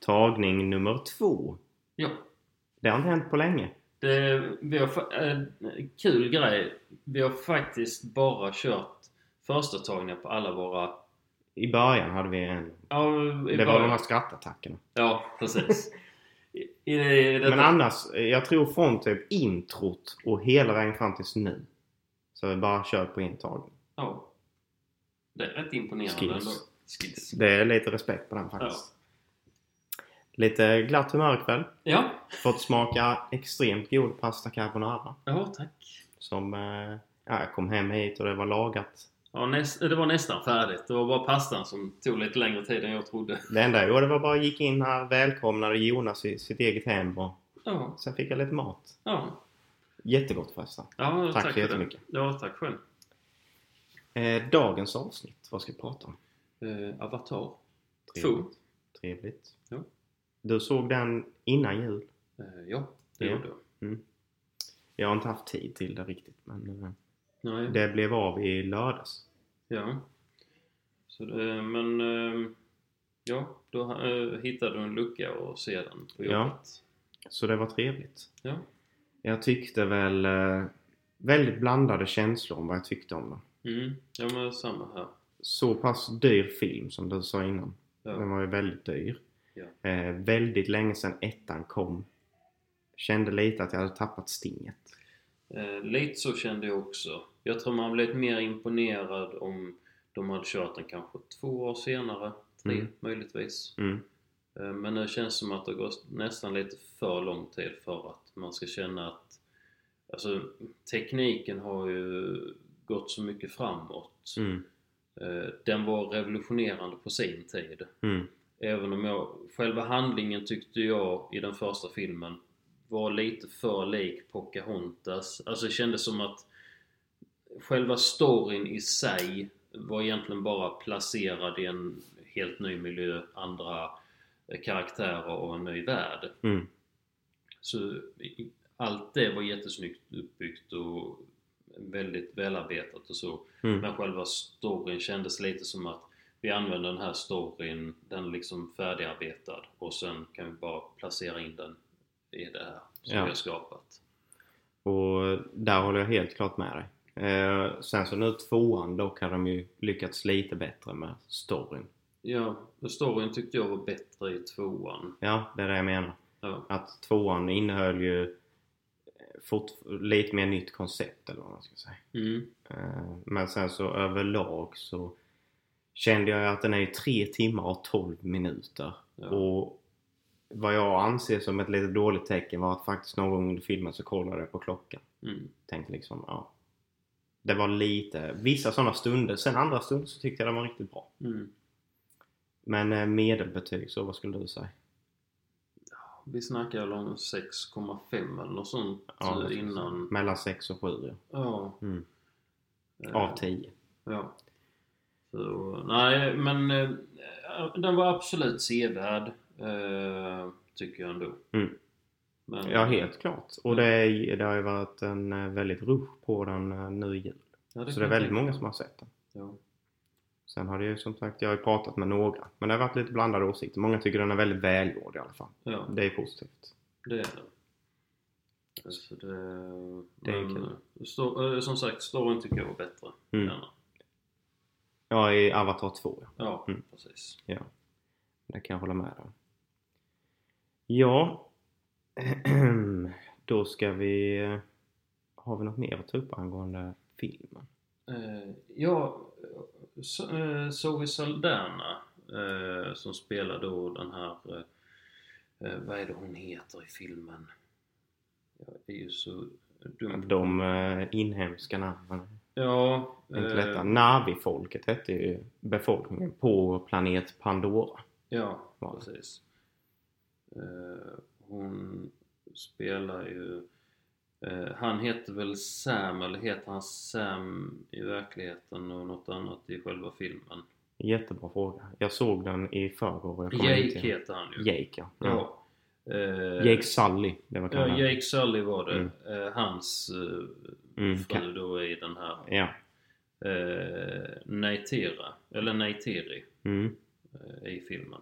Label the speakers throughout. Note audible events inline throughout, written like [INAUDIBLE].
Speaker 1: Tagning nummer två.
Speaker 2: Ja.
Speaker 1: Det har inte hänt på länge.
Speaker 2: Det, vi har, fa- en kul grej. Vi har faktiskt bara kört första tagningar på alla våra...
Speaker 1: I början hade vi en.
Speaker 2: Ja, i
Speaker 1: Det var de
Speaker 2: början.
Speaker 1: här skrattattackerna.
Speaker 2: Ja, precis. I, i, i detta,
Speaker 1: Men annars, eh, jag tror från typ introt och hela vägen fram tills nu. Så vi bara kört på en tagning.
Speaker 2: ja. Det är rätt imponerande
Speaker 1: Skills.
Speaker 2: ändå. Skills.
Speaker 1: Det är lite respekt på den faktiskt. Lite glatt humör ikväll.
Speaker 2: Ja.
Speaker 1: Fått smaka extremt god pasta carbonara.
Speaker 2: Ja, tack.
Speaker 1: Som... Eh, ja, jag kom hem hit och det var lagat.
Speaker 2: Ja, näst, det var nästan färdigt. Det var bara pastan som tog lite längre tid än jag trodde.
Speaker 1: Det enda jag gjorde var bara gick in här, välkomnade Jonas i sitt eget hem och
Speaker 2: Ja,
Speaker 1: sen fick jag lite mat.
Speaker 2: ja. Jättegott.
Speaker 1: Jättegott förresten.
Speaker 2: Ja,
Speaker 1: Tack
Speaker 2: tack,
Speaker 1: så
Speaker 2: för det.
Speaker 1: jättemycket.
Speaker 2: Ja, tack själv.
Speaker 1: Eh, dagens avsnitt, vad ska vi prata om?
Speaker 2: Eh, Avatar 2.
Speaker 1: Trevligt. Trevligt.
Speaker 2: Ja.
Speaker 1: Du såg den innan jul.
Speaker 2: Eh, ja, det
Speaker 1: Ja.
Speaker 2: gjorde jag.
Speaker 1: Jag har inte haft tid till det riktigt men eh,
Speaker 2: Nej,
Speaker 1: det blev av i lördags.
Speaker 2: ja. Så det, men... Eh, ja, då eh, hittade du en lucka och se den på
Speaker 1: Ja.
Speaker 2: jobbet.
Speaker 1: Så det var trevligt.
Speaker 2: Ja.
Speaker 1: Jag tyckte väl eh, väldigt blandade känslor om vad jag tyckte om den.
Speaker 2: Ja, mm. ja men samma här.
Speaker 1: Så pass dyr film som du sa innan. Den
Speaker 2: Ja.
Speaker 1: var ju väldigt dyr.
Speaker 2: Ja.
Speaker 1: Eh, väldigt länge sedan ettan kom. Kände lite att jag hade tappat stinget.
Speaker 2: Eh, lite så kände jag också. Jag tror man blivit mer imponerad om de hade kört den kanske två år senare. Tre,
Speaker 1: Mm.
Speaker 2: möjligtvis.
Speaker 1: Mm.
Speaker 2: Eh, men nu känns det som att det går nästan lite för lång tid för att man ska känna att... Alltså, tekniken har ju gått så mycket framåt.
Speaker 1: Mm.
Speaker 2: Eh, den var revolutionerande på sin tid.
Speaker 1: Mm.
Speaker 2: Även om jag... Själva handlingen tyckte jag i den första filmen var lite för lik Pocahontas. Alltså det kändes som att själva storyn i sig var egentligen bara placerad i en helt ny miljö, andra eh, karaktärer och en ny värld.
Speaker 1: Mm.
Speaker 2: Så i- allt det var jättesnyggt uppbyggt och väldigt välarbetat och så.
Speaker 1: Mm.
Speaker 2: Men själva storyn kändes lite som att vi använder den här storyn, den är liksom färdigarbetad och sen kan vi bara placera in den i det här som
Speaker 1: Ja.
Speaker 2: vi har skapat.
Speaker 1: Och där håller jag helt klart med dig. Eh, sen så nu tvåan, dock har de ju lyckats lite bättre med storyn.
Speaker 2: Ja, och storyn tyckte jag var bättre i tvåan.
Speaker 1: Ja, det är det jag menar.
Speaker 2: Ja,
Speaker 1: Att tvåan innehöll ju eh, fort, lite mer nytt koncept eller vad man ska säga.
Speaker 2: mm.
Speaker 1: Eh, men sen så överlag så kände jag att den är ju 3 timmar och 12 minuter.
Speaker 2: Ja.
Speaker 1: Och vad jag anser som ett lite dåligt tecken var att faktiskt någon gång under filmen så kollade jag på klockan.
Speaker 2: Mm.
Speaker 1: tänkte liksom, ja. Det var lite, vissa sådana stunder. Sen andra stunder så tyckte jag den var riktigt bra.
Speaker 2: Mm.
Speaker 1: Men eh, medelbetyg, så vad skulle du säga?
Speaker 2: Vi snackade väl om 6,5 eller något sånt
Speaker 1: Ja, vad
Speaker 2: eh,
Speaker 1: ska jag säga?
Speaker 2: innan.
Speaker 1: Mellan 6 och 7 ja.
Speaker 2: Ja.
Speaker 1: Mm.
Speaker 2: Eh,
Speaker 1: Av 10.
Speaker 2: Ja. Så, nej, men eh, den var absolut sevärd. Eh, tycker jag ändå.
Speaker 1: Mm.
Speaker 2: Men,
Speaker 1: Ja, helt klart. Och det, är, det har ju varit en eh, väldigt rush på den eh, nu i jul.
Speaker 2: Ja,
Speaker 1: Så
Speaker 2: kan
Speaker 1: det är
Speaker 2: jag
Speaker 1: väldigt
Speaker 2: tänka
Speaker 1: många
Speaker 2: mig.
Speaker 1: som har sett den.
Speaker 2: Ja.
Speaker 1: Sen har det ju som sagt, jag har ju pratat med några. Men det har varit lite blandade åsikter. Många tycker den är väldigt välgjord i alla fall.
Speaker 2: ja,
Speaker 1: Det är positivt.
Speaker 2: det är det. Så det,
Speaker 1: Det är
Speaker 2: men,
Speaker 1: kul.
Speaker 2: eh, sto- eh, som sagt, storyn tycker jag var bättre.
Speaker 1: Mm.
Speaker 2: Gärna.
Speaker 1: Ja, i Avatar 2 ja.
Speaker 2: Ja,
Speaker 1: Mm.
Speaker 2: precis.
Speaker 1: Det kan jag hålla med om. Ja. [CLEARS THROAT] Då ska vi... Har vi något mer att ta upp angående filmen?
Speaker 2: Eh, ja, so- eh, Zoe Saldana eh, som spelar då den här, eh, eh, vad är det hon heter i filmen? Jag är ju så dum.
Speaker 1: De eh, inhemska namnen.
Speaker 2: Ja,
Speaker 1: är Inte
Speaker 2: eh,
Speaker 1: lätta. Navi-folket hette ju befolkningen på planet Pandora.
Speaker 2: Ja,
Speaker 1: Var det.
Speaker 2: precis. Eh, hon spelar ju... Eh, han heter väl Sam, eller heter han Sam i verkligheten och något annat i själva filmen?
Speaker 1: Jättebra fråga. Jag såg den i förrgår. och jag kommer inte
Speaker 2: Jake
Speaker 1: ihåg.
Speaker 2: heter han ju.
Speaker 1: Jake, ja. ja.
Speaker 2: Ja. Eh,
Speaker 1: Jake Sully. Det var
Speaker 2: ja,
Speaker 1: kallat.
Speaker 2: Jake Sully var det.
Speaker 1: Mm.
Speaker 2: Eh, hans eh,
Speaker 1: Mm,
Speaker 2: fru
Speaker 1: kan-
Speaker 2: då i den här
Speaker 1: Ja.
Speaker 2: eh, Neytira, eller Neytiri.
Speaker 1: Mm.
Speaker 2: eh, i filmen.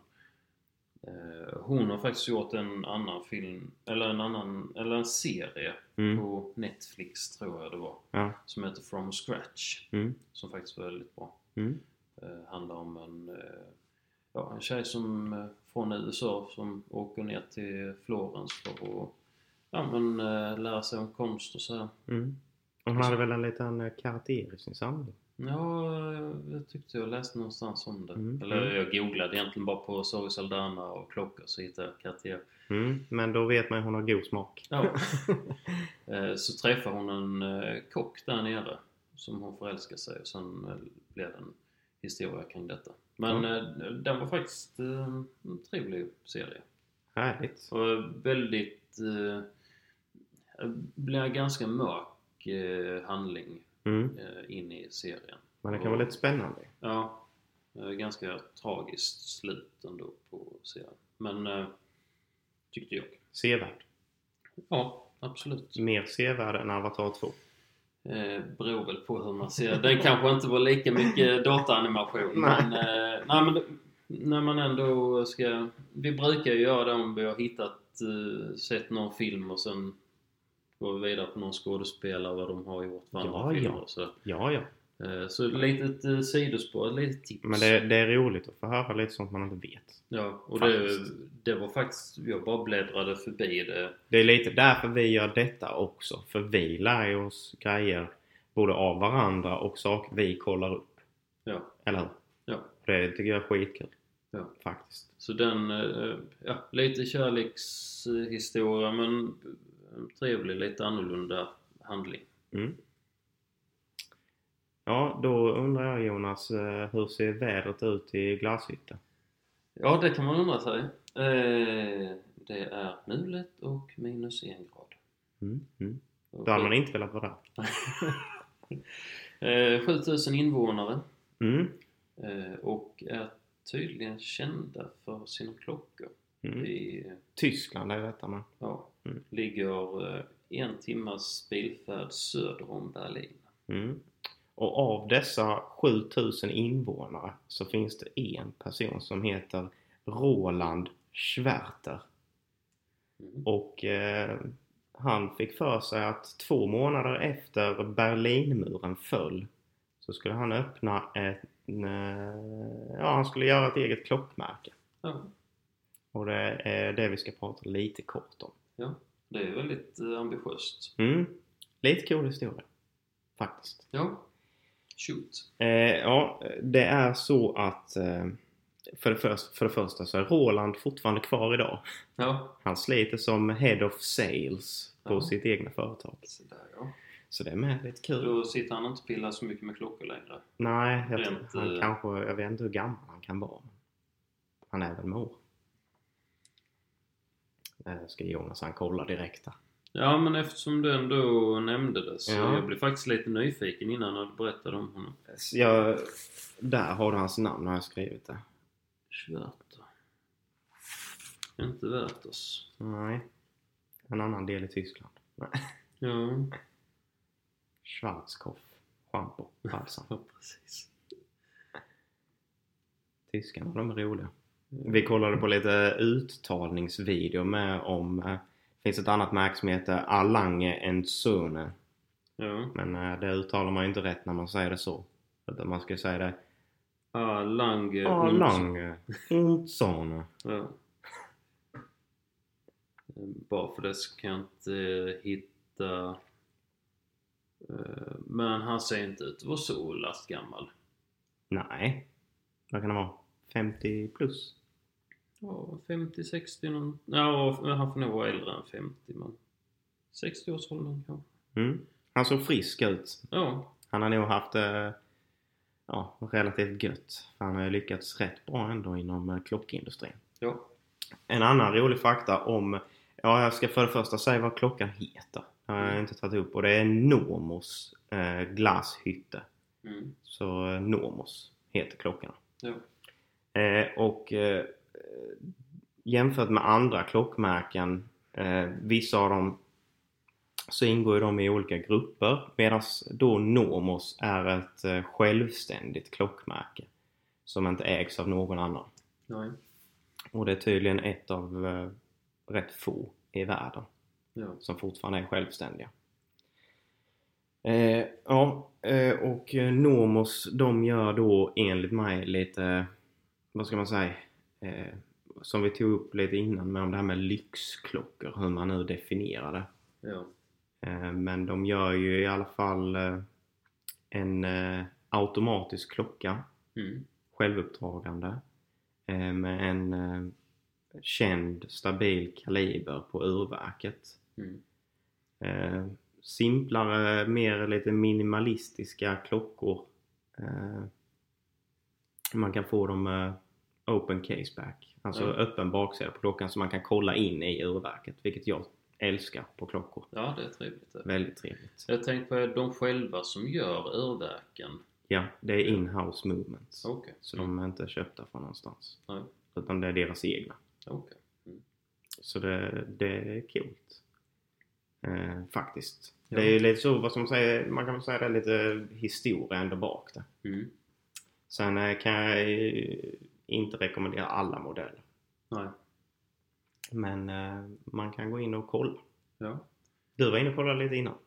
Speaker 2: Eh, Hon har faktiskt gjort en annan film, eller en annan, eller en serie
Speaker 1: Mm.
Speaker 2: på Netflix tror jag det var.
Speaker 1: Ja.
Speaker 2: Som heter From Scratch.
Speaker 1: Mm.
Speaker 2: Som faktiskt var väldigt bra.
Speaker 1: Mm.
Speaker 2: Eh, handlar om en, eh, ja, en tjej som, eh, från USA som åker ner till Florens för att ja, men, eh, lära sig om konst och så här.
Speaker 1: Mm. Och hon hade väl en liten eh, karaktär i sin samling?
Speaker 2: Ja, eh, jag tyckte jag läste någonstans om det.
Speaker 1: Mm.
Speaker 2: Eller jag googlade egentligen bara på Zoe Saldana och klockor så hittade jag Cartier.
Speaker 1: Mm. Men då vet man ju hon har god smak.
Speaker 2: Ja. [LAUGHS] Eh, så träffar hon en eh, kock där nere som hon förälskar sig och sen eh, blev det en historia kring detta. Men eh, den var faktiskt eh, en trevlig serie.
Speaker 1: Härligt.
Speaker 2: Och väldigt... Eh, blir ganska mörk eh, handling
Speaker 1: Mm.
Speaker 2: eh, in i serien.
Speaker 1: Men det kan vara lite spännande.
Speaker 2: Ja. Eh, ganska tragiskt slut ändå på serien. Men eh, tyckte jag.
Speaker 1: Sevärd.
Speaker 2: Ja, absolut.
Speaker 1: Mer sevärd än Avatar 2.
Speaker 2: Eh, beror väl på hur man ser Den kanske inte var lika mycket dataanimation.
Speaker 1: Nej.
Speaker 2: Men, eh, nej, men det- när man ändå ska... Vi brukar ju göra det om vi har hittat, eh, sett någon film och sen går vi vidare på någon skådespelare vad de har gjort för andra
Speaker 1: Ja, ja.
Speaker 2: filmer. och Så,
Speaker 1: Ja, ja.
Speaker 2: eh, så lite ett eh, sidospår, ett litet tips.
Speaker 1: Men det, det är roligt att få höra lite sånt man inte vet.
Speaker 2: Ja, och det,
Speaker 1: Faktiskt.
Speaker 2: det var faktiskt... Jag bara bläddrade förbi det.
Speaker 1: Det är lite därför vi gör detta också. För vi lär ju oss grejer både av varandra och saker vi kollar upp.
Speaker 2: Ja,
Speaker 1: Eller hur?
Speaker 2: ja.
Speaker 1: Det tycker jag är skitkul.
Speaker 2: Ja.
Speaker 1: Faktiskt.
Speaker 2: Så den, eh, ja, lite kärlekshistoria men en trevlig, lite annorlunda handling.
Speaker 1: Mm. Ja, då undrar jag Jonas, eh, hur ser vädret ut i Glashyttan?
Speaker 2: Ja, det kan man undra sig. Eh, det är mulet och minus en grad.
Speaker 1: Mm. Mm. Då hade man inte velat vara där.
Speaker 2: eh, 7000 invånare
Speaker 1: Mm.
Speaker 2: eh, och är tydligen kända för sina klockor.
Speaker 1: Mm.
Speaker 2: I,
Speaker 1: Tyskland är ju detta med.
Speaker 2: ja,
Speaker 1: Mm.
Speaker 2: ligger eh, en timmas bilfärd söder om Berlin.
Speaker 1: Mm. Och av dessa 7000 invånare så finns det en person som heter Roland Schwerter.
Speaker 2: Mm.
Speaker 1: Och eh, han fick för sig att två månader efter Berlinmuren föll så skulle han öppna en, eh, ja han skulle göra ett eget klockmärke.
Speaker 2: Ja.
Speaker 1: Och det är det vi ska prata lite kort om.
Speaker 2: Det är väldigt eh, ambitiöst.
Speaker 1: Mm. Lite cool historia. Faktiskt.
Speaker 2: Ja. Shoot.
Speaker 1: Eh, ja, det är så att eh, för, det först, för det första så är Roland fortfarande kvar idag.
Speaker 2: Ja.
Speaker 1: Han sliter som head of sales på
Speaker 2: Ja.
Speaker 1: sitt egna företag.
Speaker 2: Så där, ja.
Speaker 1: Så det är med lite kul.
Speaker 2: Då sitter han inte och pillar så mycket med klockor längre.
Speaker 1: Nej, jag, tror-
Speaker 2: Rent,
Speaker 1: han
Speaker 2: eh,
Speaker 1: kanske, jag vet inte hur gammal han kan vara. Han är väl mor. Eh, Ska Jonas han kolla direkt här.
Speaker 2: Ja, men eftersom du ändå nämnde det så
Speaker 1: Ja.
Speaker 2: jag blev faktiskt lite nyfiken innan när du berättade om honom.
Speaker 1: Så Jag, där har du hans namn, har jag skrivit det.
Speaker 2: Schwerter. Inte värt oss.
Speaker 1: Nej. En annan del i Tyskland. Nej.
Speaker 2: Ja,
Speaker 1: Schwarzkopf. Schampo. Balsam.
Speaker 2: ja precis.
Speaker 1: Tyskarna, de är roliga. Vi kollade på lite uttalningsvideo med om... eh, Det finns ett annat märke som heter Alange and Söhne.
Speaker 2: Ja.
Speaker 1: Men eh, det uttalar man ju inte rätt när man säger det så. Utan man ska säga det
Speaker 2: Ah, Lange.
Speaker 1: Alange und Söhne.
Speaker 2: Ja. Bara för det så kan jag inte eh, hitta... eh, Men han ser inte ut att vara så lastgammal.
Speaker 1: Nej. Vad kan det vara? 50 plus?
Speaker 2: Ja, 50, 60 någon... Ja, han får nog vara äldre än 50 men... 60-årsåldern kanske?
Speaker 1: Mm. Han såg frisk ut.
Speaker 2: Ja.
Speaker 1: Han har nog haft eh, ja, relativt gött. För han har ju lyckats rätt bra ändå inom eh, klockindustrin.
Speaker 2: Ja.
Speaker 1: En annan rolig fakta om... Ja, jag ska för det första säga vad klockan heter. Det har jag
Speaker 2: Mm.
Speaker 1: inte tagit upp. Och det är Nomos eh, glashytte.
Speaker 2: Mm.
Speaker 1: Så eh, Nomos heter klockan.
Speaker 2: Ja.
Speaker 1: Eh, och eh, jämfört med andra klockmärken, eh, vissa av dem så ingår ju de i olika grupper medan då Nomos är ett eh, självständigt klockmärke som inte ägs av någon annan.
Speaker 2: Nej.
Speaker 1: Och det är tydligen ett av eh, rätt få i världen
Speaker 2: Ja.
Speaker 1: som fortfarande är självständiga. Eh, ja, eh, och eh, Nomos de gör då enligt mig lite, eh, vad ska man säga, eh, som vi tog upp lite innan med om det här med lyxklockor, hur man nu definierar det.
Speaker 2: Ja.
Speaker 1: Eh, Men de gör ju i alla fall eh, en eh, automatisk klocka,
Speaker 2: Mm.
Speaker 1: självupptagande, eh, med en eh, känd stabil kaliber på urverket.
Speaker 2: Mm.
Speaker 1: Eh, Simplare, mer lite minimalistiska klockor. Eh, Man kan få dem eh, open caseback, alltså
Speaker 2: Mm.
Speaker 1: öppen baksida på klockan så man kan kolla in i urverket, vilket jag älskar på klockor.
Speaker 2: ja, det är trevligt det.
Speaker 1: Väldigt trevligt.
Speaker 2: Jag tänkte på de själva som gör urverken.
Speaker 1: Ja, det
Speaker 2: Mm.
Speaker 1: är in-house movements.
Speaker 2: Okej.
Speaker 1: Så de är inte köpta från någonstans.
Speaker 2: Nej.
Speaker 1: Utan det är deras egna.
Speaker 2: Okej.
Speaker 1: Så det, det är coolt. Eh, faktiskt.
Speaker 2: Ja.
Speaker 1: Det är lite så, vad som säger, man kan väl säga det är lite historia ändå bak det.
Speaker 2: Mm.
Speaker 1: Sen eh, kan jag eh, inte rekommendera alla modeller.
Speaker 2: Nej.
Speaker 1: Men eh, man kan gå in och kolla.
Speaker 2: Ja.
Speaker 1: Du var inne och kollade lite innan.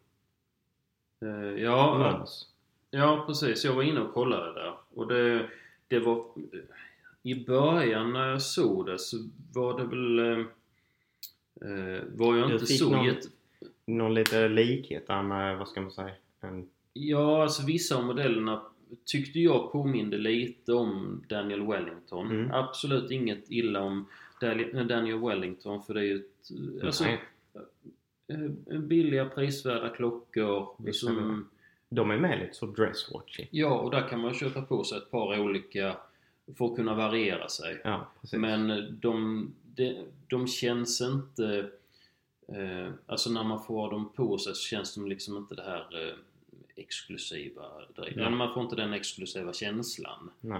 Speaker 2: Eh, ja,
Speaker 1: Annars.
Speaker 2: Ja, precis. Jag var inne och kollade där. Och det, det var... I början när jag såg det så var det väl... Eh, var jag
Speaker 1: Du
Speaker 2: inte
Speaker 1: fick
Speaker 2: så
Speaker 1: någon-
Speaker 2: jätte...
Speaker 1: Någon lite likhet där med, vad ska man säga, en
Speaker 2: Ja, alltså vissa av modellerna tyckte jag påminde lite om Daniel Wellington.
Speaker 1: Mm.
Speaker 2: Absolut inget illa om Dali- eh, Daniel Wellington för det är ju ett... Alltså,
Speaker 1: Nej.
Speaker 2: eh, billiga prisvärda klockor
Speaker 1: Visst,
Speaker 2: som...
Speaker 1: men- De är med lite så dresswatchy.
Speaker 2: Ja, och där kan man köpa på sig ett par olika för att kunna variera sig.
Speaker 1: Ja, precis.
Speaker 2: Men eh, de, de, de känns inte... Eh, alltså när man får dem på sig så känns de liksom inte det här eh, exklusiva direkt.
Speaker 1: Nej.
Speaker 2: Man får inte den exklusiva känslan.
Speaker 1: Nej.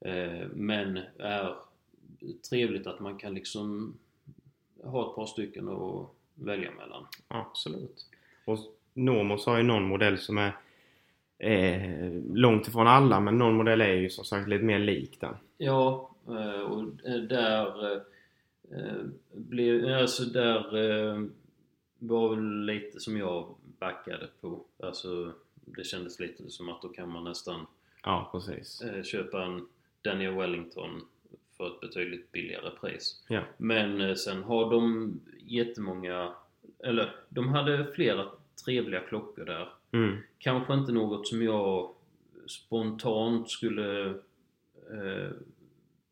Speaker 2: Eh, men är trevligt att man kan liksom ha ett par stycken att välja mellan.
Speaker 1: Absolut. Och Normos har ju någon modell som är eh, långt ifrån alla men någon modell är ju som sagt lite mer lik den.
Speaker 2: Ja, eh, och eh, där eh, eh, blev, alltså där eh, var väl lite som jag backade på. Alltså det kändes lite som att då kan man nästan
Speaker 1: Ja, precis.
Speaker 2: eh, köpa en Daniel Wellington för ett betydligt billigare pris.
Speaker 1: Ja.
Speaker 2: Men eh, sen har de jättemånga, eller de hade flera trevliga klockor där.
Speaker 1: Mm.
Speaker 2: Kanske inte något som jag spontant skulle eh,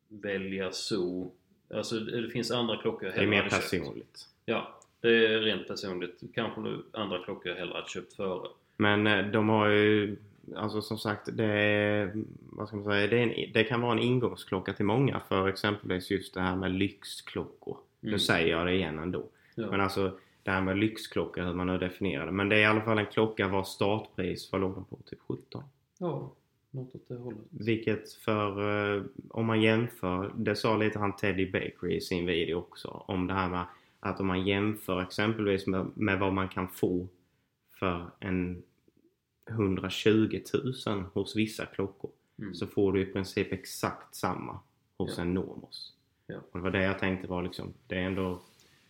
Speaker 2: välja så. Alltså det det finns andra klockor jag
Speaker 1: Det är mer
Speaker 2: hade köpt.
Speaker 1: personligt.
Speaker 2: Ja, det är rent personligt. Kanske nu andra klockor jag hellre hade köpt före.
Speaker 1: Men eh, de har ju, alltså som sagt, det är, vad ska man säga, det, är en, det kan vara en ingångsklocka till många för exempelvis just det här med lyxklockor. Nu
Speaker 2: Mm.
Speaker 1: säger jag det igen ändå.
Speaker 2: Ja.
Speaker 1: Men alltså det här med lyxklocka, hur man nu definierar det. Men det är i alla fall en klocka vars startpris, vad låg den på? Typ 17?
Speaker 2: ja, något åt det hållet.
Speaker 1: Vilket för, eh, om man jämför, det sa lite han Teddy Baker i sin video också, om det här med att om man jämför exempelvis med, med vad man kan få för en 120 000 hos vissa klockor
Speaker 2: Mm.
Speaker 1: så får du i princip exakt samma hos
Speaker 2: Ja.
Speaker 1: en Normos.
Speaker 2: Ja.
Speaker 1: Och det var det jag tänkte var liksom, det är ändå,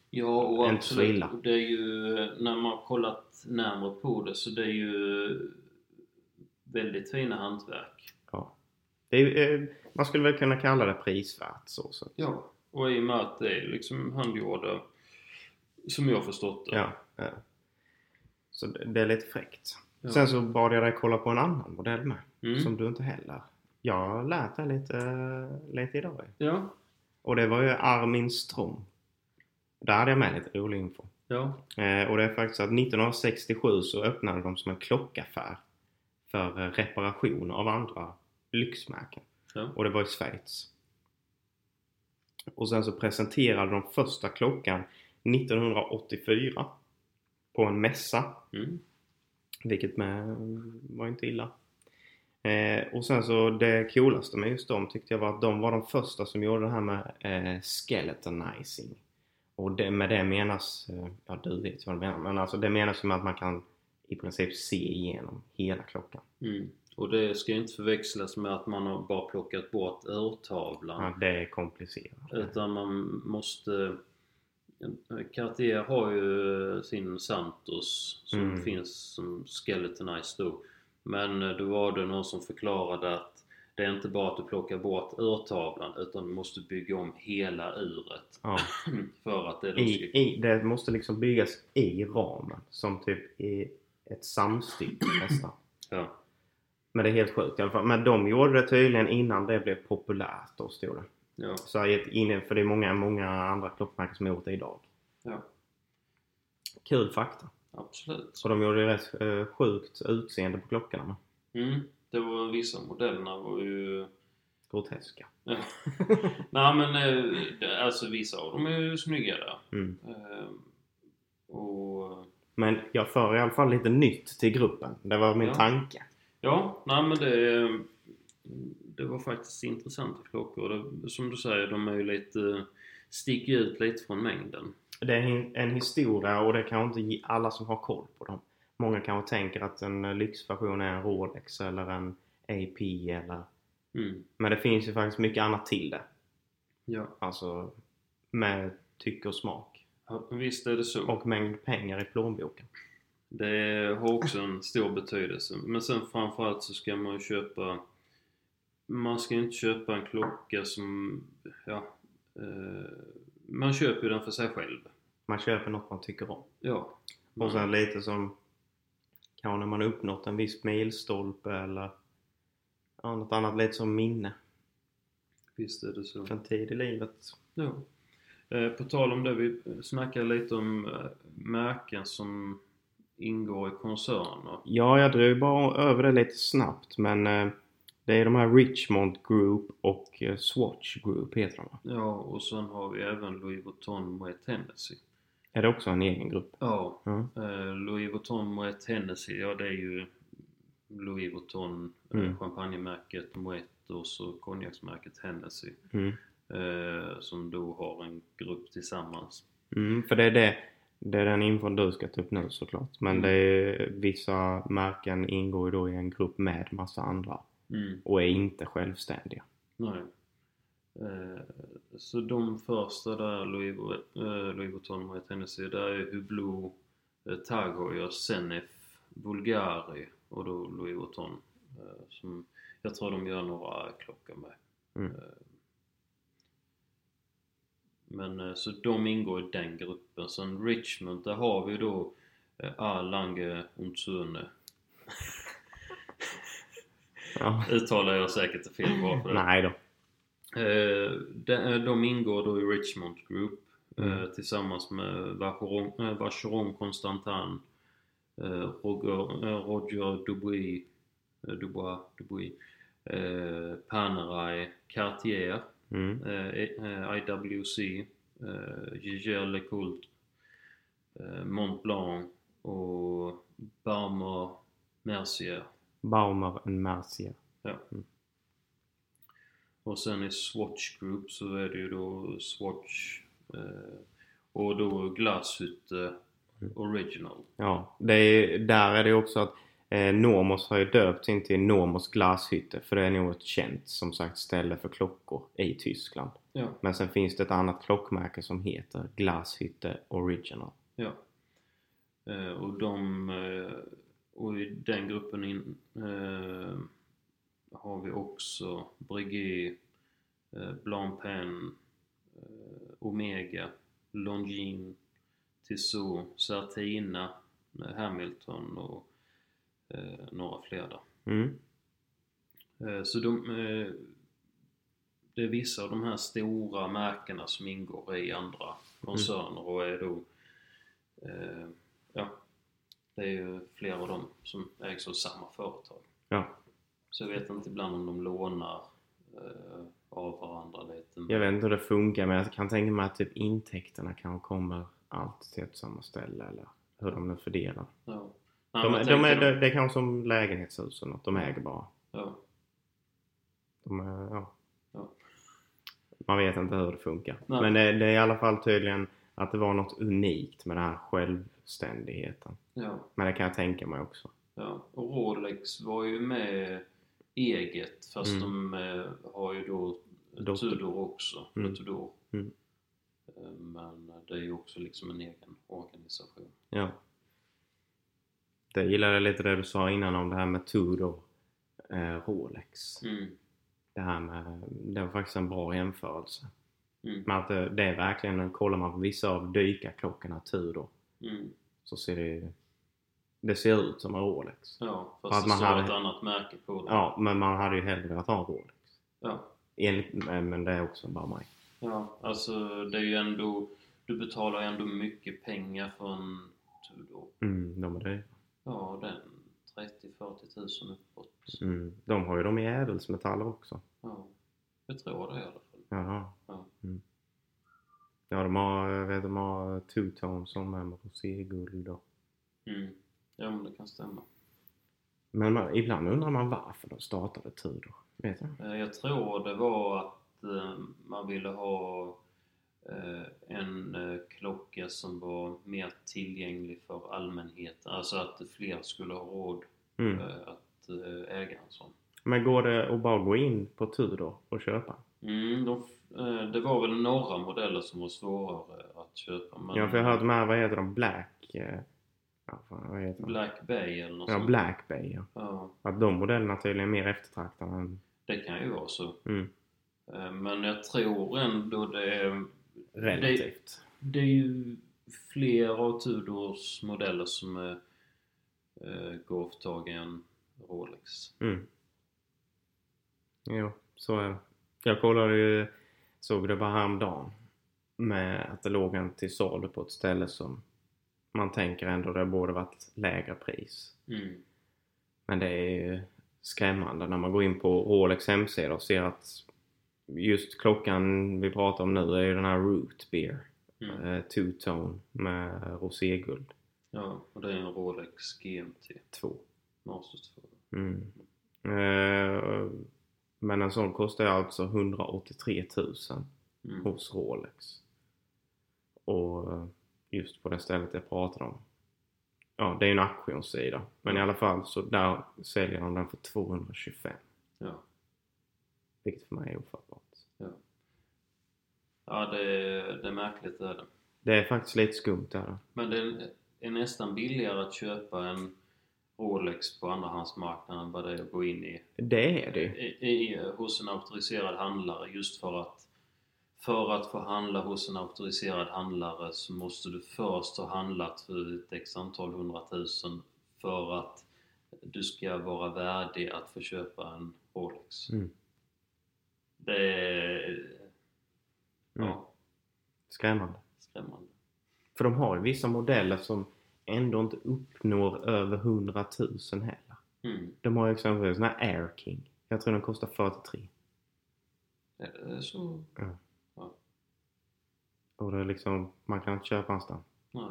Speaker 2: Ja, och
Speaker 1: Inte så
Speaker 2: absolut.
Speaker 1: illa.
Speaker 2: Det är ju, eh, när man har kollat närmare på det, så det är ju eh, väldigt fina hantverk.
Speaker 1: ja. Det är, ju, eh, man skulle väl kunna kalla det prisvärt så. så.
Speaker 2: Ja, och i och med att det är liksom handgjorda, som jag har förstått det.
Speaker 1: Ja, ja. Så det, det är lite fräckt.
Speaker 2: Ja.
Speaker 1: Sen så bad jag dig kolla på en annan modell med.
Speaker 2: Mm.
Speaker 1: Som du inte heller. Jag har lärt dig lite, lite idag. ju.
Speaker 2: Ja,
Speaker 1: Och det var ju Armin Strom. Där hade jag med lite rolig info.
Speaker 2: ja,
Speaker 1: Eh, och det är faktiskt att 1967 så öppnade de som en klockaffär. För eh, reparation av andra lyxmärken.
Speaker 2: ja.
Speaker 1: Och det var i Schweiz. Och sen så presenterade de första klockan 1984 på en mässa.
Speaker 2: Mm.
Speaker 1: Vilket med var inte illa. Eh, och sen så det coolaste med just dem tyckte jag var att de var de första som gjorde det här med eh, skeletonizing. Och det, med det menas, eh, ja du vet vad det menar, men alltså det menas som att man kan i princip se igenom hela klockan.
Speaker 2: Mm. Och det ska ju inte förväxlas med att man har bara plockat bort urtavlan.
Speaker 1: Ja, det är komplicerat.
Speaker 2: Utan man måste... Cartier har ju sin Santos som
Speaker 1: Mm.
Speaker 2: finns som Skeletonized då. Men eh, då var det någon som förklarade att det är inte bara att du plockar bort urtavlan utan du måste bygga om hela uret. [CLEARS THROAT]
Speaker 1: Ja.
Speaker 2: För att det då ska...
Speaker 1: I, i, det måste liksom byggas i ramen. Som typ i ett
Speaker 2: [CLEARS THROAT]
Speaker 1: samstycke nästan.
Speaker 2: Ja.
Speaker 1: Men det är helt sjukt i alla fall. Men de gjorde det tydligen innan det blev populärt då, stod det.
Speaker 2: Ja.
Speaker 1: Så jag har gett in, för det är många, många andra klockmärken som har gjort det idag.
Speaker 2: ja.
Speaker 1: Kul fakta.
Speaker 2: Absolut.
Speaker 1: Så de gjorde ju rätt eh, sjukt utseende på klockorna med.
Speaker 2: Mm. Det var vissa modellerna var ju... [LAUGHS]
Speaker 1: Groteska.
Speaker 2: Nej men eh, det- alltså vissa av dem är ju snygga där.
Speaker 1: Mm.
Speaker 2: Eh, Och...
Speaker 1: Men jag för i alla fall lite nytt till gruppen. Det var min
Speaker 2: Ja.
Speaker 1: tanke.
Speaker 2: Ja, nej men det... Det var faktiskt intressanta klockor. Det, som du säger, de är ju lite... Sticker ju ut lite från mängden.
Speaker 1: Det är hin- en historia och det kan inte ge alla som har koll på dem. Många kanske tänker att en eh, lyxversion är en Rolex eller en AP eller...
Speaker 2: Mm.
Speaker 1: Men det finns ju faktiskt mycket annat till det.
Speaker 2: Ja.
Speaker 1: Alltså med tycke och smak.
Speaker 2: ja, visst är det så.
Speaker 1: Och mängd pengar i plånboken.
Speaker 2: Det har också en stor betydelse. Men sen framförallt så ska man ju köpa... Man ska inte köpa en klocka som... Ja, eh, man köper ju den för sig själv.
Speaker 1: Man köper något man tycker om.
Speaker 2: Ja.
Speaker 1: Och sen lite som kanske när man har uppnått en viss milstolpe eller ja, något annat lite som minne
Speaker 2: Visst är det så.
Speaker 1: från tid i livet.
Speaker 2: Ja. Eh, På tal om det, vi snackade lite om eh, märken som ingår i koncerner.
Speaker 1: Ja, jag drog bara över det lite snabbt men eh, det är de här Richmond Group och eh, Swatch Group heter de va?
Speaker 2: Ja, och sen har vi även Louis Vuitton Moet Hennessy.
Speaker 1: Är det också en egen grupp?
Speaker 2: Ja,
Speaker 1: Ja.
Speaker 2: eh, Louis Vuitton Moet Hennessy, ja det är ju Louis Vuitton,
Speaker 1: Mm.
Speaker 2: eh, champagnemärket Moet och så konjaksmärket Hennessy.
Speaker 1: Mm.
Speaker 2: Eh, som då har en grupp tillsammans.
Speaker 1: Mm, för det är det. Det är den infon du ska ta upp nu såklart. Men
Speaker 2: Mm.
Speaker 1: det är, vissa märken ingår ju då i en grupp med massa andra
Speaker 2: Mm.
Speaker 1: och är inte självständiga.
Speaker 2: Nej. Eh, så de första där, Louis, Vu- eh, Louis Vuitton Moet Hennessy, där är Hublot, eh, Tag Heuer, Senef, Bulgari och då Louis Vuitton. Eh, som jag tror de gör några klockor med.
Speaker 1: Mm.
Speaker 2: Eh, Men eh, så de ingår i den gruppen. Sen Richmond, där har vi då eh, Erlange und Söhne.
Speaker 1: Ja.
Speaker 2: Uttalar jag säkert fel bara för det.
Speaker 1: Nej då.
Speaker 2: Eh, de, de ingår då i Richmond Group eh,
Speaker 1: Mm.
Speaker 2: tillsammans med Vacheron, eh, Vacheron Constantin, eh, Roger, eh, Roger Dubuis, eh, Dubois, Dubuis eh, Panerai, Cartier,
Speaker 1: Mm.
Speaker 2: eh, eh, IWC, eh, Giger LeCoultre, eh, Mont Blanc och Barmer Mercier.
Speaker 1: Baumer and Mercier.
Speaker 2: Och sen i Swatch Group så är det ju då Swatch eh, och då Glashytte Original.
Speaker 1: Ja, det är, där är det ju också att eh, Normos har ju döpt in till Normos glashytte för det är nog ett känt som sagt ställe för klockor i Tyskland.
Speaker 2: Ja.
Speaker 1: Men sen finns det ett annat klockmärke som heter Glashytte Original.
Speaker 2: ja. Eh, och de, eh, och i den gruppen in, eh, har vi också Breguet, eh, Blancpain, eh, Omega, Longines, Tissot, Certina, eh, Hamilton och eh, några fler där.
Speaker 1: Mm.
Speaker 2: Eh, Så de, eh, det är vissa av de här stora märkena som ingår i andra koncerner och är då, eh, ja, det är ju flera av dem som ägs av samma företag.
Speaker 1: Ja.
Speaker 2: Så jag vet inte ibland om de lånar eh, av varandra lite. men-
Speaker 1: Jag vet inte hur det funkar men jag kan tänka mig att typ intäkterna kanske kommer allt till ett samma ställe eller hur de nu fördelar.
Speaker 2: Ja. Nej,
Speaker 1: De,
Speaker 2: men
Speaker 1: de
Speaker 2: tänker
Speaker 1: är,
Speaker 2: de-
Speaker 1: det, det är kanske som lägenhetshus eller något, de äger bara.
Speaker 2: Ja,
Speaker 1: De är, ja.
Speaker 2: ja.
Speaker 1: Man vet inte hur det funkar.
Speaker 2: Nej.
Speaker 1: Men det, det är i alla fall tydligen att det var något unikt med den här självständigheten.
Speaker 2: ja.
Speaker 1: Men det kan jag tänka mig också.
Speaker 2: Ja, och Rolex var ju med eget fast
Speaker 1: Mm.
Speaker 2: de eh, har ju då
Speaker 1: Dotter.
Speaker 2: Tudor också.
Speaker 1: Mm.
Speaker 2: Tudor.
Speaker 1: Mm.
Speaker 2: Eh, Men det är ju också liksom en egen organisation.
Speaker 1: Ja. Det gillar jag lite det du sa innan om det här med Tudor eh, Rolex.
Speaker 2: Mm.
Speaker 1: Det här med, det var faktiskt en bra jämförelse.
Speaker 2: Mm.
Speaker 1: Men att det, det är verkligen, kollar man på vissa av dykarklockorna Tudor
Speaker 2: Mm.
Speaker 1: så ser det ju, det ser ut som en Rolex.
Speaker 2: Ja,
Speaker 1: Att
Speaker 2: fast det
Speaker 1: man
Speaker 2: står
Speaker 1: hade-
Speaker 2: ett annat märke på dem.
Speaker 1: Ja, men man hade ju hellre velat ha en Rolex.
Speaker 2: Ja.
Speaker 1: Enligt, men men det är också bara mig.
Speaker 2: ja, alltså det är ju ändå... Du betalar ju ändå mycket pengar för en Tudor.
Speaker 1: Mm, de är dyra.
Speaker 2: Ja, den 30-40 tusen uppåt.
Speaker 1: Mm, de har ju de i ädelsmetaller också.
Speaker 2: Ja, jag tror det i alla fall.
Speaker 1: Jaha.
Speaker 2: Ja.
Speaker 1: Mm. Ja, de har, jag vet, de har two-tone som är med roséguld och...
Speaker 2: Mm. Ja, men det kan stämma.
Speaker 1: Men man, ibland undrar man varför de startade Tudor. Vet du?
Speaker 2: Eh, Jag tror det var att eh, man ville ha eh, en eh, klocka som var mer tillgänglig för allmänheten. Alltså att fler skulle ha råd
Speaker 1: Mm.
Speaker 2: eh, att eh, äga en sån.
Speaker 1: Men går det att bara gå in på Tudor och köpa?
Speaker 2: Mm, de, f- eh, det var väl några modeller som var svårare att köpa. Men
Speaker 1: Ja, för jag har hört de här, vad heter de? Black... eh, Ja, fan, vad heter de?
Speaker 2: Black Bay eller något
Speaker 1: ja,
Speaker 2: sånt.
Speaker 1: Black Bay, ja.
Speaker 2: Ja,
Speaker 1: Att de modellerna tydligen är mer eftertraktade än...
Speaker 2: det kan ju vara så.
Speaker 1: Mm,
Speaker 2: Eh, Men jag tror ändå det är
Speaker 1: relativt.
Speaker 2: Det är ju fler av Tudors modeller som är eh, golftag än Rolex.
Speaker 1: Mm. Jo, så är det. Jag kollade ju, såg det bara häromdagen. Med att det låg en till salu på ett ställe som man tänker ändå det borde varit lägre pris.
Speaker 2: Mm.
Speaker 1: Men det är ju skrämmande när man går in på Rolex hemsida och ser att just klockan vi pratar om nu är ju den här Root Beer.
Speaker 2: Mm.
Speaker 1: Eh, Two-tone med roséguld
Speaker 2: Ja, och det är en Rolex GMT
Speaker 1: 2.
Speaker 2: Master 2.
Speaker 1: Mm. Eh, men en sån kostar ju alltså 183 000
Speaker 2: Mm.
Speaker 1: hos Rolex. Och eh, just på det stället jag pratade om. Ja, det är ju en auktionssida. Men i alla fall så där säljer de den för 225.
Speaker 2: Ja.
Speaker 1: Vilket för mig är ofattbart.
Speaker 2: ja, det är, det är märkligt det är det.
Speaker 1: Det är faktiskt lite skumt det här.
Speaker 2: Men det är nästan billigare att köpa en Rolex på andrahandsmarknaden än vad det är att gå in i,
Speaker 1: Det är det ju.
Speaker 2: i, i, hos en auktoriserad handlare just för att för att få handla hos en auktoriserad handlare så måste du först ha handlat för ett x antal hundratusen för att du ska vara värdig att få köpa en Rolex.
Speaker 1: Mm.
Speaker 2: Det är... Ja,
Speaker 1: Mm. Skrämmande.
Speaker 2: skrämmande.
Speaker 1: För de har ju vissa modeller som ändå inte uppnår över 100 000 heller.
Speaker 2: Mm.
Speaker 1: De har ju exempelvis den här Air King. Jag tror den kostar 43.
Speaker 2: Är det Eh, så...
Speaker 1: Och det är liksom, man kan inte köpa en sån.
Speaker 2: Nej.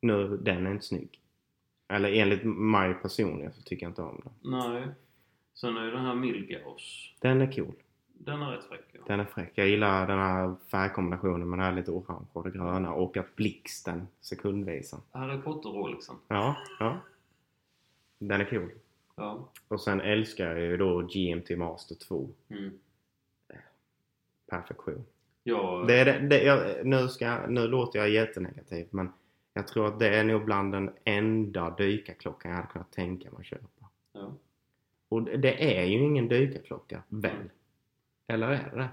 Speaker 1: Nu, den är inte snygg. Eller enligt mig personligen så tycker jag inte om den.
Speaker 2: Nej. Sen är ju den här Milgaus.
Speaker 1: Den är cool.
Speaker 2: Den är rätt fräck ja.
Speaker 1: Den är fräck. Jag gillar den här färgkombinationen med det här lite orange och det gröna och att blixten sekundvisen.
Speaker 2: Harry Potter-Rolexen.
Speaker 1: Ja, ja. Den är cool.
Speaker 2: Ja.
Speaker 1: Och sen älskar jag ju då GMT Master 2.
Speaker 2: Mm.
Speaker 1: Perfektion.
Speaker 2: Jag...
Speaker 1: Det är det, det, jag, nu, ska, nu låter jag jättenegativ men jag tror att det är nog bland den enda dykarklockan jag hade kunnat tänka mig att köpa.
Speaker 2: Ja.
Speaker 1: Och det- det är ju ingen dykarklocka, väl? Eller är det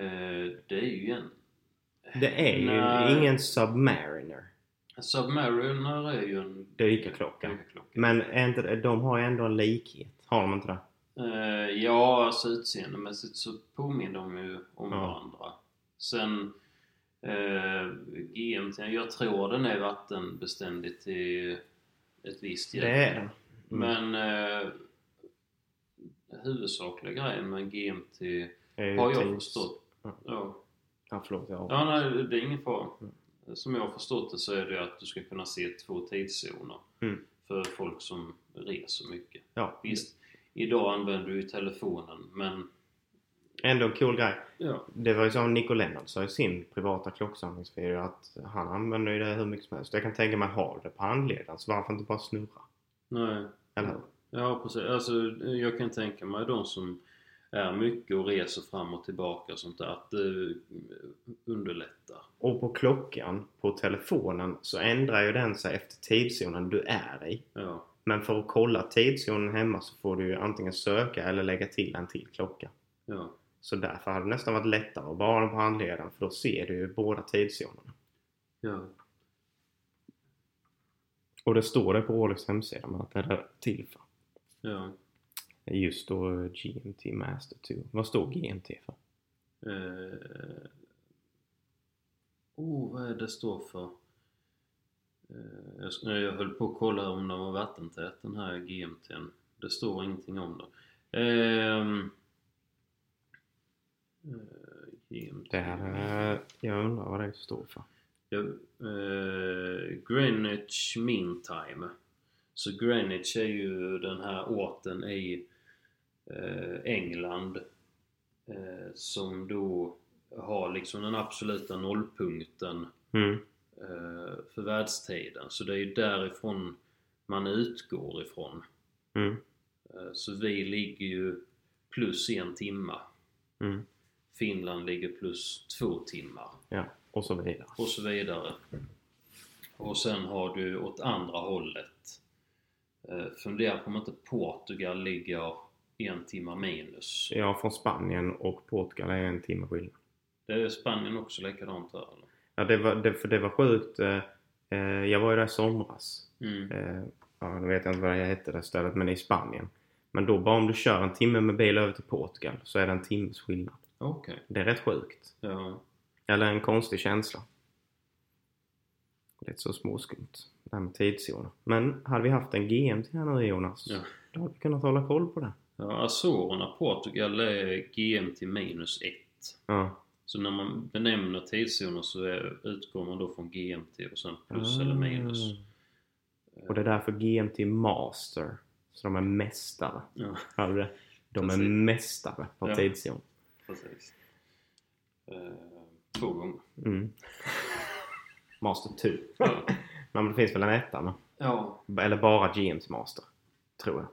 Speaker 2: Eh, det är ju en...
Speaker 1: Det är ju
Speaker 2: Nej.
Speaker 1: ingen Submariner
Speaker 2: Submariner är ju en
Speaker 1: dykarklocka.
Speaker 2: dykarklocka.
Speaker 1: Men är inte, det- de har ju ändå en likhet, har de inte det?
Speaker 2: Eh, ja, alltså utseendemässigt så påminner de ju om
Speaker 1: Ja.
Speaker 2: varandra. Sen eh, GMT, jag tror den är vattenbeständig till ett visst
Speaker 1: Det är den. Mm.
Speaker 2: Men eh, huvudsakliga grejen med en GMT
Speaker 1: Eh,
Speaker 2: har jag
Speaker 1: Teams-
Speaker 2: förstått.
Speaker 1: Ja.
Speaker 2: Ja.
Speaker 1: Ja, förlåt. Jag
Speaker 2: Ja, nej, det är ingen fara. Som jag har förstått det så är det att du ska kunna se två tidszoner
Speaker 1: Mm.
Speaker 2: för folk som reser mycket.
Speaker 1: ja.
Speaker 2: Visst, idag använder du ju telefonen, men
Speaker 1: Ändå en cool grej.
Speaker 2: ja,
Speaker 1: Det var ju som Nico Lennart sa i sin privata klocksamlingsvideo att han använder ju det hur mycket som helst. Jag kan tänka mig, har du det på handleden så varför inte bara snurra?
Speaker 2: Nej.
Speaker 1: Eller hur?
Speaker 2: Ja precis. Alltså, jag kan tänka mig de som är mycket och reser fram och tillbaka och sånt där. Att det underlättar.
Speaker 1: Och på klockan på telefonen så ändrar ju den sig efter tidszonen du är i.
Speaker 2: Ja.
Speaker 1: Men för att kolla tidszonen hemma så får du ju antingen söka eller lägga till en till klocka.
Speaker 2: ja.
Speaker 1: Så därför hade det nästan varit lättare att bara ha den på handleden för då ser du ju båda tidszonerna.
Speaker 2: ja.
Speaker 1: Och det står det på Rolex hemsida men att det är till för.
Speaker 2: ja.
Speaker 1: Just då eh, GMT Master 2. Vad står GMT för?
Speaker 2: Eh, oh, vad är det står för? Eh, jag, s- nej, jag höll på att kolla om den var vattentät den här GMT'n. Det står ingenting om det. Ehm, eh, GMT.
Speaker 1: Det här, eh, jag undrar vad det står för.
Speaker 2: Ja, eh, Greenwich Mean Time. Så Greenwich är ju den här orten i eh, England eh, som då har liksom den absoluta nollpunkten
Speaker 1: Mm.
Speaker 2: eh, för världstiden. Så det är ju därifrån man utgår ifrån.
Speaker 1: Mm.
Speaker 2: Eh, så vi ligger ju plus en timma.
Speaker 1: Mm.
Speaker 2: Finland ligger plus två timmar.
Speaker 1: Ja, och så vidare.
Speaker 2: och så vidare. Och sen har du åt andra hållet. Eh, fundera på om inte Portugal ligger en timma minus.
Speaker 1: Ja, från Spanien och Portugal är en timme skillnad.
Speaker 2: Det är Spanien också likadant där eller?
Speaker 1: Ja, det var, det, för det var sjukt. eh, eh, Jag var ju där i somras.
Speaker 2: Mm.
Speaker 1: Eh, Ja, nu vet jag inte vad det hette det stället, men i Spanien. Men då bara om du kör en timme med bil över till Portugal så är det en timmes skillnad.
Speaker 2: Okej.
Speaker 1: Det är rätt sjukt.
Speaker 2: Ja.
Speaker 1: Eller en konstig känsla. Lite så småskumt. Det här med tidszoner. Men hade vi haft en GMT här nu Jonas,
Speaker 2: Ja.
Speaker 1: då hade vi kunnat hålla koll på det.
Speaker 2: ja Azorerna, Portugal är GM till minus 1.
Speaker 1: Ja.
Speaker 2: Så när man benämner tidszoner så är, utgår man då från GMT och sen plus
Speaker 1: Ah.
Speaker 2: eller minus.
Speaker 1: Och det är därför GMT Master. Så de är mästare.
Speaker 2: Ja,
Speaker 1: Hörde du det? De är
Speaker 2: Precis.
Speaker 1: mästare på
Speaker 2: Ja.
Speaker 1: tidszon.
Speaker 2: precis. Eh, två gånger.
Speaker 1: Mm. Master 2.
Speaker 2: Ja.
Speaker 1: Nej, men det finns väl en etta med.
Speaker 2: ja,
Speaker 1: Eller bara GMs Master. Tror jag.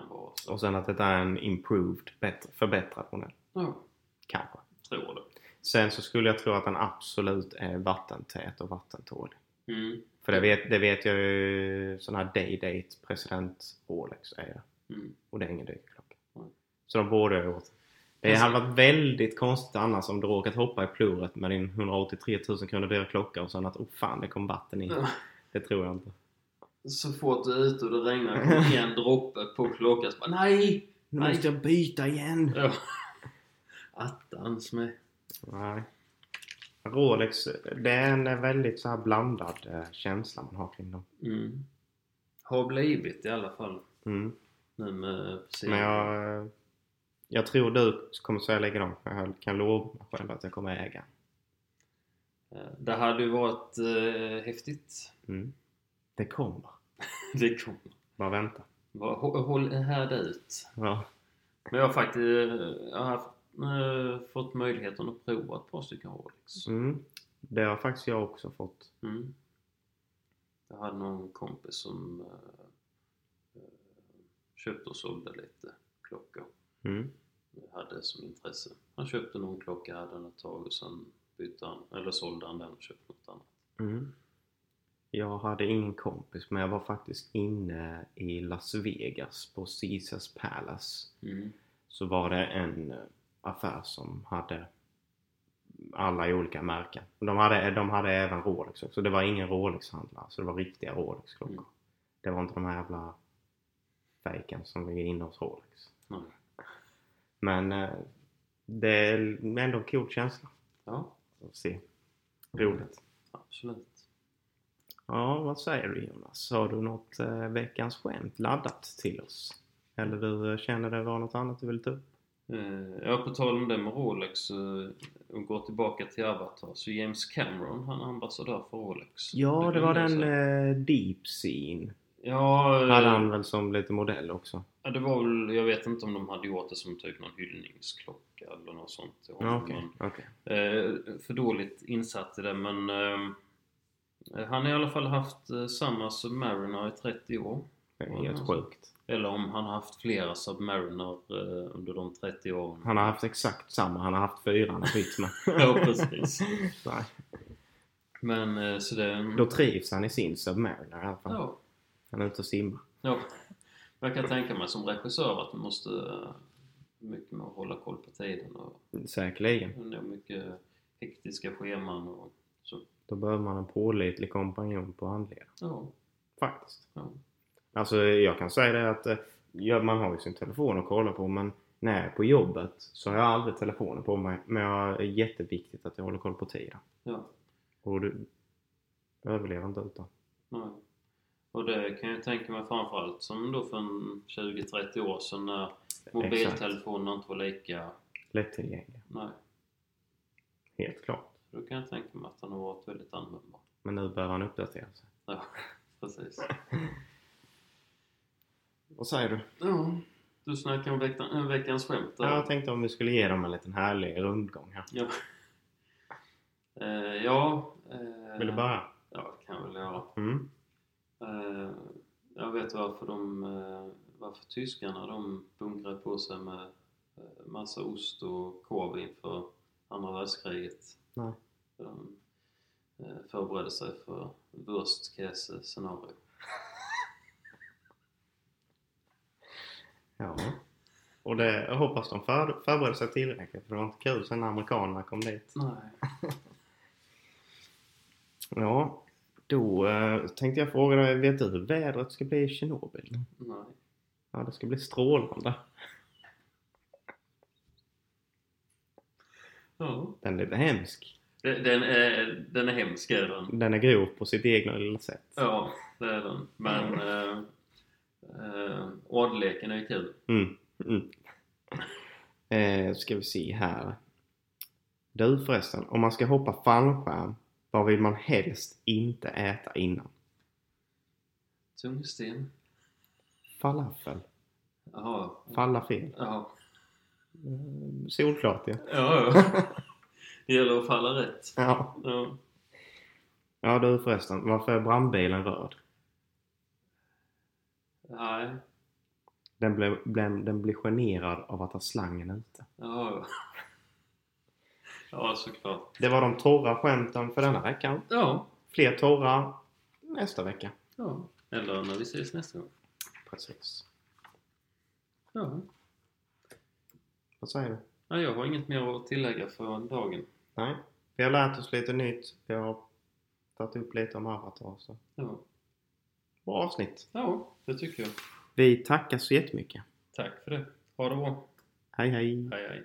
Speaker 2: kan vara så.
Speaker 1: Och sen att detta är en improved, bättre, förbättrad modell.
Speaker 2: Ja,
Speaker 1: Kanske.
Speaker 2: tror det.
Speaker 1: Sen så skulle jag tro att den absolut är vattentät och vattentålig.
Speaker 2: Mm.
Speaker 1: För det vet, det vet jag ju sån här Day-Date president Rolex är det.
Speaker 2: Mm.
Speaker 1: Och det är ingen dykerklocka.
Speaker 2: Nej.
Speaker 1: Så de borde ha gjort. Det hade varit väldigt konstigt annars om du råkat hoppa i pluret med din 183 000 kronor dyra klocka och sen att oh fan det kom vatten i. Det tror jag inte.
Speaker 2: Så fort du är ute och det regnar kommer en droppe på klockan så bara nej!
Speaker 1: Nu
Speaker 2: Nej.
Speaker 1: måste jag byta igen!
Speaker 2: Ja. Attans med.
Speaker 1: Nej. Rolex, det är en väldigt så här blandad eh, känsla man har kring dem.
Speaker 2: Mm. Har blivit i alla fall.
Speaker 1: Mm.
Speaker 2: Nu med precis.
Speaker 1: Men jag, eh, jag tror du kommer säga likadant. men Jag kan lova mig själv att jag kommer äga.
Speaker 2: Eh, Det hade ju varit eh, häftigt.
Speaker 1: Mm. Det kommer.
Speaker 2: Det kommer.
Speaker 1: Bara vänta.
Speaker 2: Bara hå- Håll härda ut.
Speaker 1: Ja.
Speaker 2: Men jag har faktiskt eh, jag har haft, eh, fått möjligheten att prova ett par stycken Rolex.
Speaker 1: Mm. Det har faktiskt jag också fått.
Speaker 2: Mm. Jag hade någon kompis som eh, eh, köpte och sålde lite klockor.
Speaker 1: Mm.
Speaker 2: Jag hade som intresse. Han köpte någon klocka, hade den ett tag och sen bytte han, eller sålde han den och köpte något annat.
Speaker 1: Mm. Jag hade ingen kompis men jag var faktiskt inne i Las Vegas på Caesars Palace.
Speaker 2: Mm.
Speaker 1: Så var det en eh, affär som hade alla i olika märken. De hade, de hade även Rolex också. Det var ingen Rolex-handlare så det var riktiga Rolex-klockor.
Speaker 2: Mm.
Speaker 1: Det var inte de här jävla fejken som ligger inne hos Rolex.
Speaker 2: Nej.
Speaker 1: Men eh, det är ändå en cool känsla
Speaker 2: Ja,
Speaker 1: att se. Roligt.
Speaker 2: absolut.
Speaker 1: Ja, vad säger du Jonas? Har du något eh, veckans skämt laddat till oss? Eller du eh, känner det var något annat du vill ta upp?
Speaker 2: Eh, Ja, på tal om det med Rolex eh, och gå tillbaka till Avatar. Så James Cameron, han är ambassadör för Rolex.
Speaker 1: Ja, det var
Speaker 2: glömde jag
Speaker 1: den
Speaker 2: säga.
Speaker 1: eh, Deep Scene.
Speaker 2: Ja, eh,
Speaker 1: Hade han väl som lite modell också?
Speaker 2: Ja, det var väl, jag vet inte om de hade gjort det som typ någon hyllningsklocka eller något sånt till
Speaker 1: Ja,
Speaker 2: honom.
Speaker 1: okej.
Speaker 2: Men,
Speaker 1: okej.
Speaker 2: eh, för dåligt insatt i det men eh, han har i alla fall haft eh, samma Submariner i 30 år.
Speaker 1: Det är
Speaker 2: Ja,
Speaker 1: helt
Speaker 2: alltså.
Speaker 1: sjukt.
Speaker 2: Eller om han har haft flera Submariner eh, under de 30 åren.
Speaker 1: Han har haft exakt samma. Han har haft fyra han har bytt med.
Speaker 2: [LAUGHS] Ja, precis.
Speaker 1: Nej.
Speaker 2: Men eh, så det...
Speaker 1: Då trivs han i sin Submariner i alla fall.
Speaker 2: ja,
Speaker 1: Han är ute och simmar.
Speaker 2: ja. Jag kan tänka mig som regissör att du måste eh, mycket med att hålla koll på tiden och
Speaker 1: Säkerligen.
Speaker 2: det är mycket hektiska scheman och så.
Speaker 1: Då behöver man en pålitlig kompanjon på handleden.
Speaker 2: Ja,
Speaker 1: Faktiskt.
Speaker 2: ja.
Speaker 1: Alltså jag kan säga det att eh, ja, man har ju sin telefon att kolla på men när jag är på jobbet så har jag aldrig telefonen på mig. Men jag är jätteviktigt att jag håller koll på tiden.
Speaker 2: ja.
Speaker 1: Och du överlever inte utan.
Speaker 2: Nej. Och det kan jag tänka mig framförallt som då för en 20-30 år sedan när mobiltelefonerna inte var lika...
Speaker 1: Lättillgänglig.
Speaker 2: Nej,
Speaker 1: Helt klart.
Speaker 2: då kan jag tänka mig att den har varit väldigt användbar.
Speaker 1: Men nu behöver han uppdatera sig.
Speaker 2: Ja, [LAUGHS] precis.
Speaker 1: Vad säger du?
Speaker 2: Ja, du snackar om veckan, en veckans skämt.
Speaker 1: Ja, jag tänkte om vi skulle ge dem en liten härlig rundgång här.
Speaker 2: ja. Eh, ja eh,
Speaker 1: Vill du börja?
Speaker 2: Ja, det kan jag väl göra.
Speaker 1: Mm.
Speaker 2: Eh, jag vet varför de... Eh, varför tyskarna de bunkrar på sig med eh, massa ost och korv inför andra världskriget.
Speaker 1: Nej.
Speaker 2: För de eh, förberedde sig för worst case scenario.
Speaker 1: Ja. Och det, jag hoppas de för, förbereder sig tillräckligt för det var inte kul sen när amerikanerna kom dit.
Speaker 2: Nej.
Speaker 1: Ja, då eh, tänkte jag fråga dig, vet du hur vädret ska bli i Tjernobyl?
Speaker 2: Nej.
Speaker 1: Ja, det ska bli strålande.
Speaker 2: Ja.
Speaker 1: Den är lite hemsk.
Speaker 2: Den, den, är, den är hemsk är den.
Speaker 1: Den är grov på sitt egna lilla sätt.
Speaker 2: Ja, det är den. Men eh, eh, ordleken är ju kul.
Speaker 1: Mm. Mm. Eh, ska vi se här. Du förresten, om man ska hoppa fallskärm, vad vill man helst inte äta innan?
Speaker 2: Tungsten.
Speaker 1: Falafel.
Speaker 2: Jaha.
Speaker 1: Falla fel.
Speaker 2: Ja.
Speaker 1: Mm, Solklart ja.
Speaker 2: Ja, ja. [LAUGHS] Det gäller att falla rätt.
Speaker 1: Ja.
Speaker 2: Ja.
Speaker 1: Ja du förresten, varför är brandbilen röd?
Speaker 2: Nej.
Speaker 1: Den blir, den, den blir generad av att ha slangen ute.
Speaker 2: Ja, ja. [LAUGHS] Ja, såklart.
Speaker 1: Det var de torra skämten för denna veckan.
Speaker 2: Ja.
Speaker 1: Fler torra nästa vecka.
Speaker 2: ja. Eller när vi ses nästa gång.
Speaker 1: Precis.
Speaker 2: Ja.
Speaker 1: Vad säger du?
Speaker 2: ja jag har inget mer att tillägga för dagen.
Speaker 1: Nej. Vi har lärt oss lite nytt. Vi har tagit upp lite om Avatar. Så.
Speaker 2: Ja.
Speaker 1: Bra avsnitt.
Speaker 2: ja, det tycker jag.
Speaker 1: Vi tackar så jättemycket.
Speaker 2: Tack för det. Ha det bra.
Speaker 1: Hej hej.
Speaker 2: Hej, hej.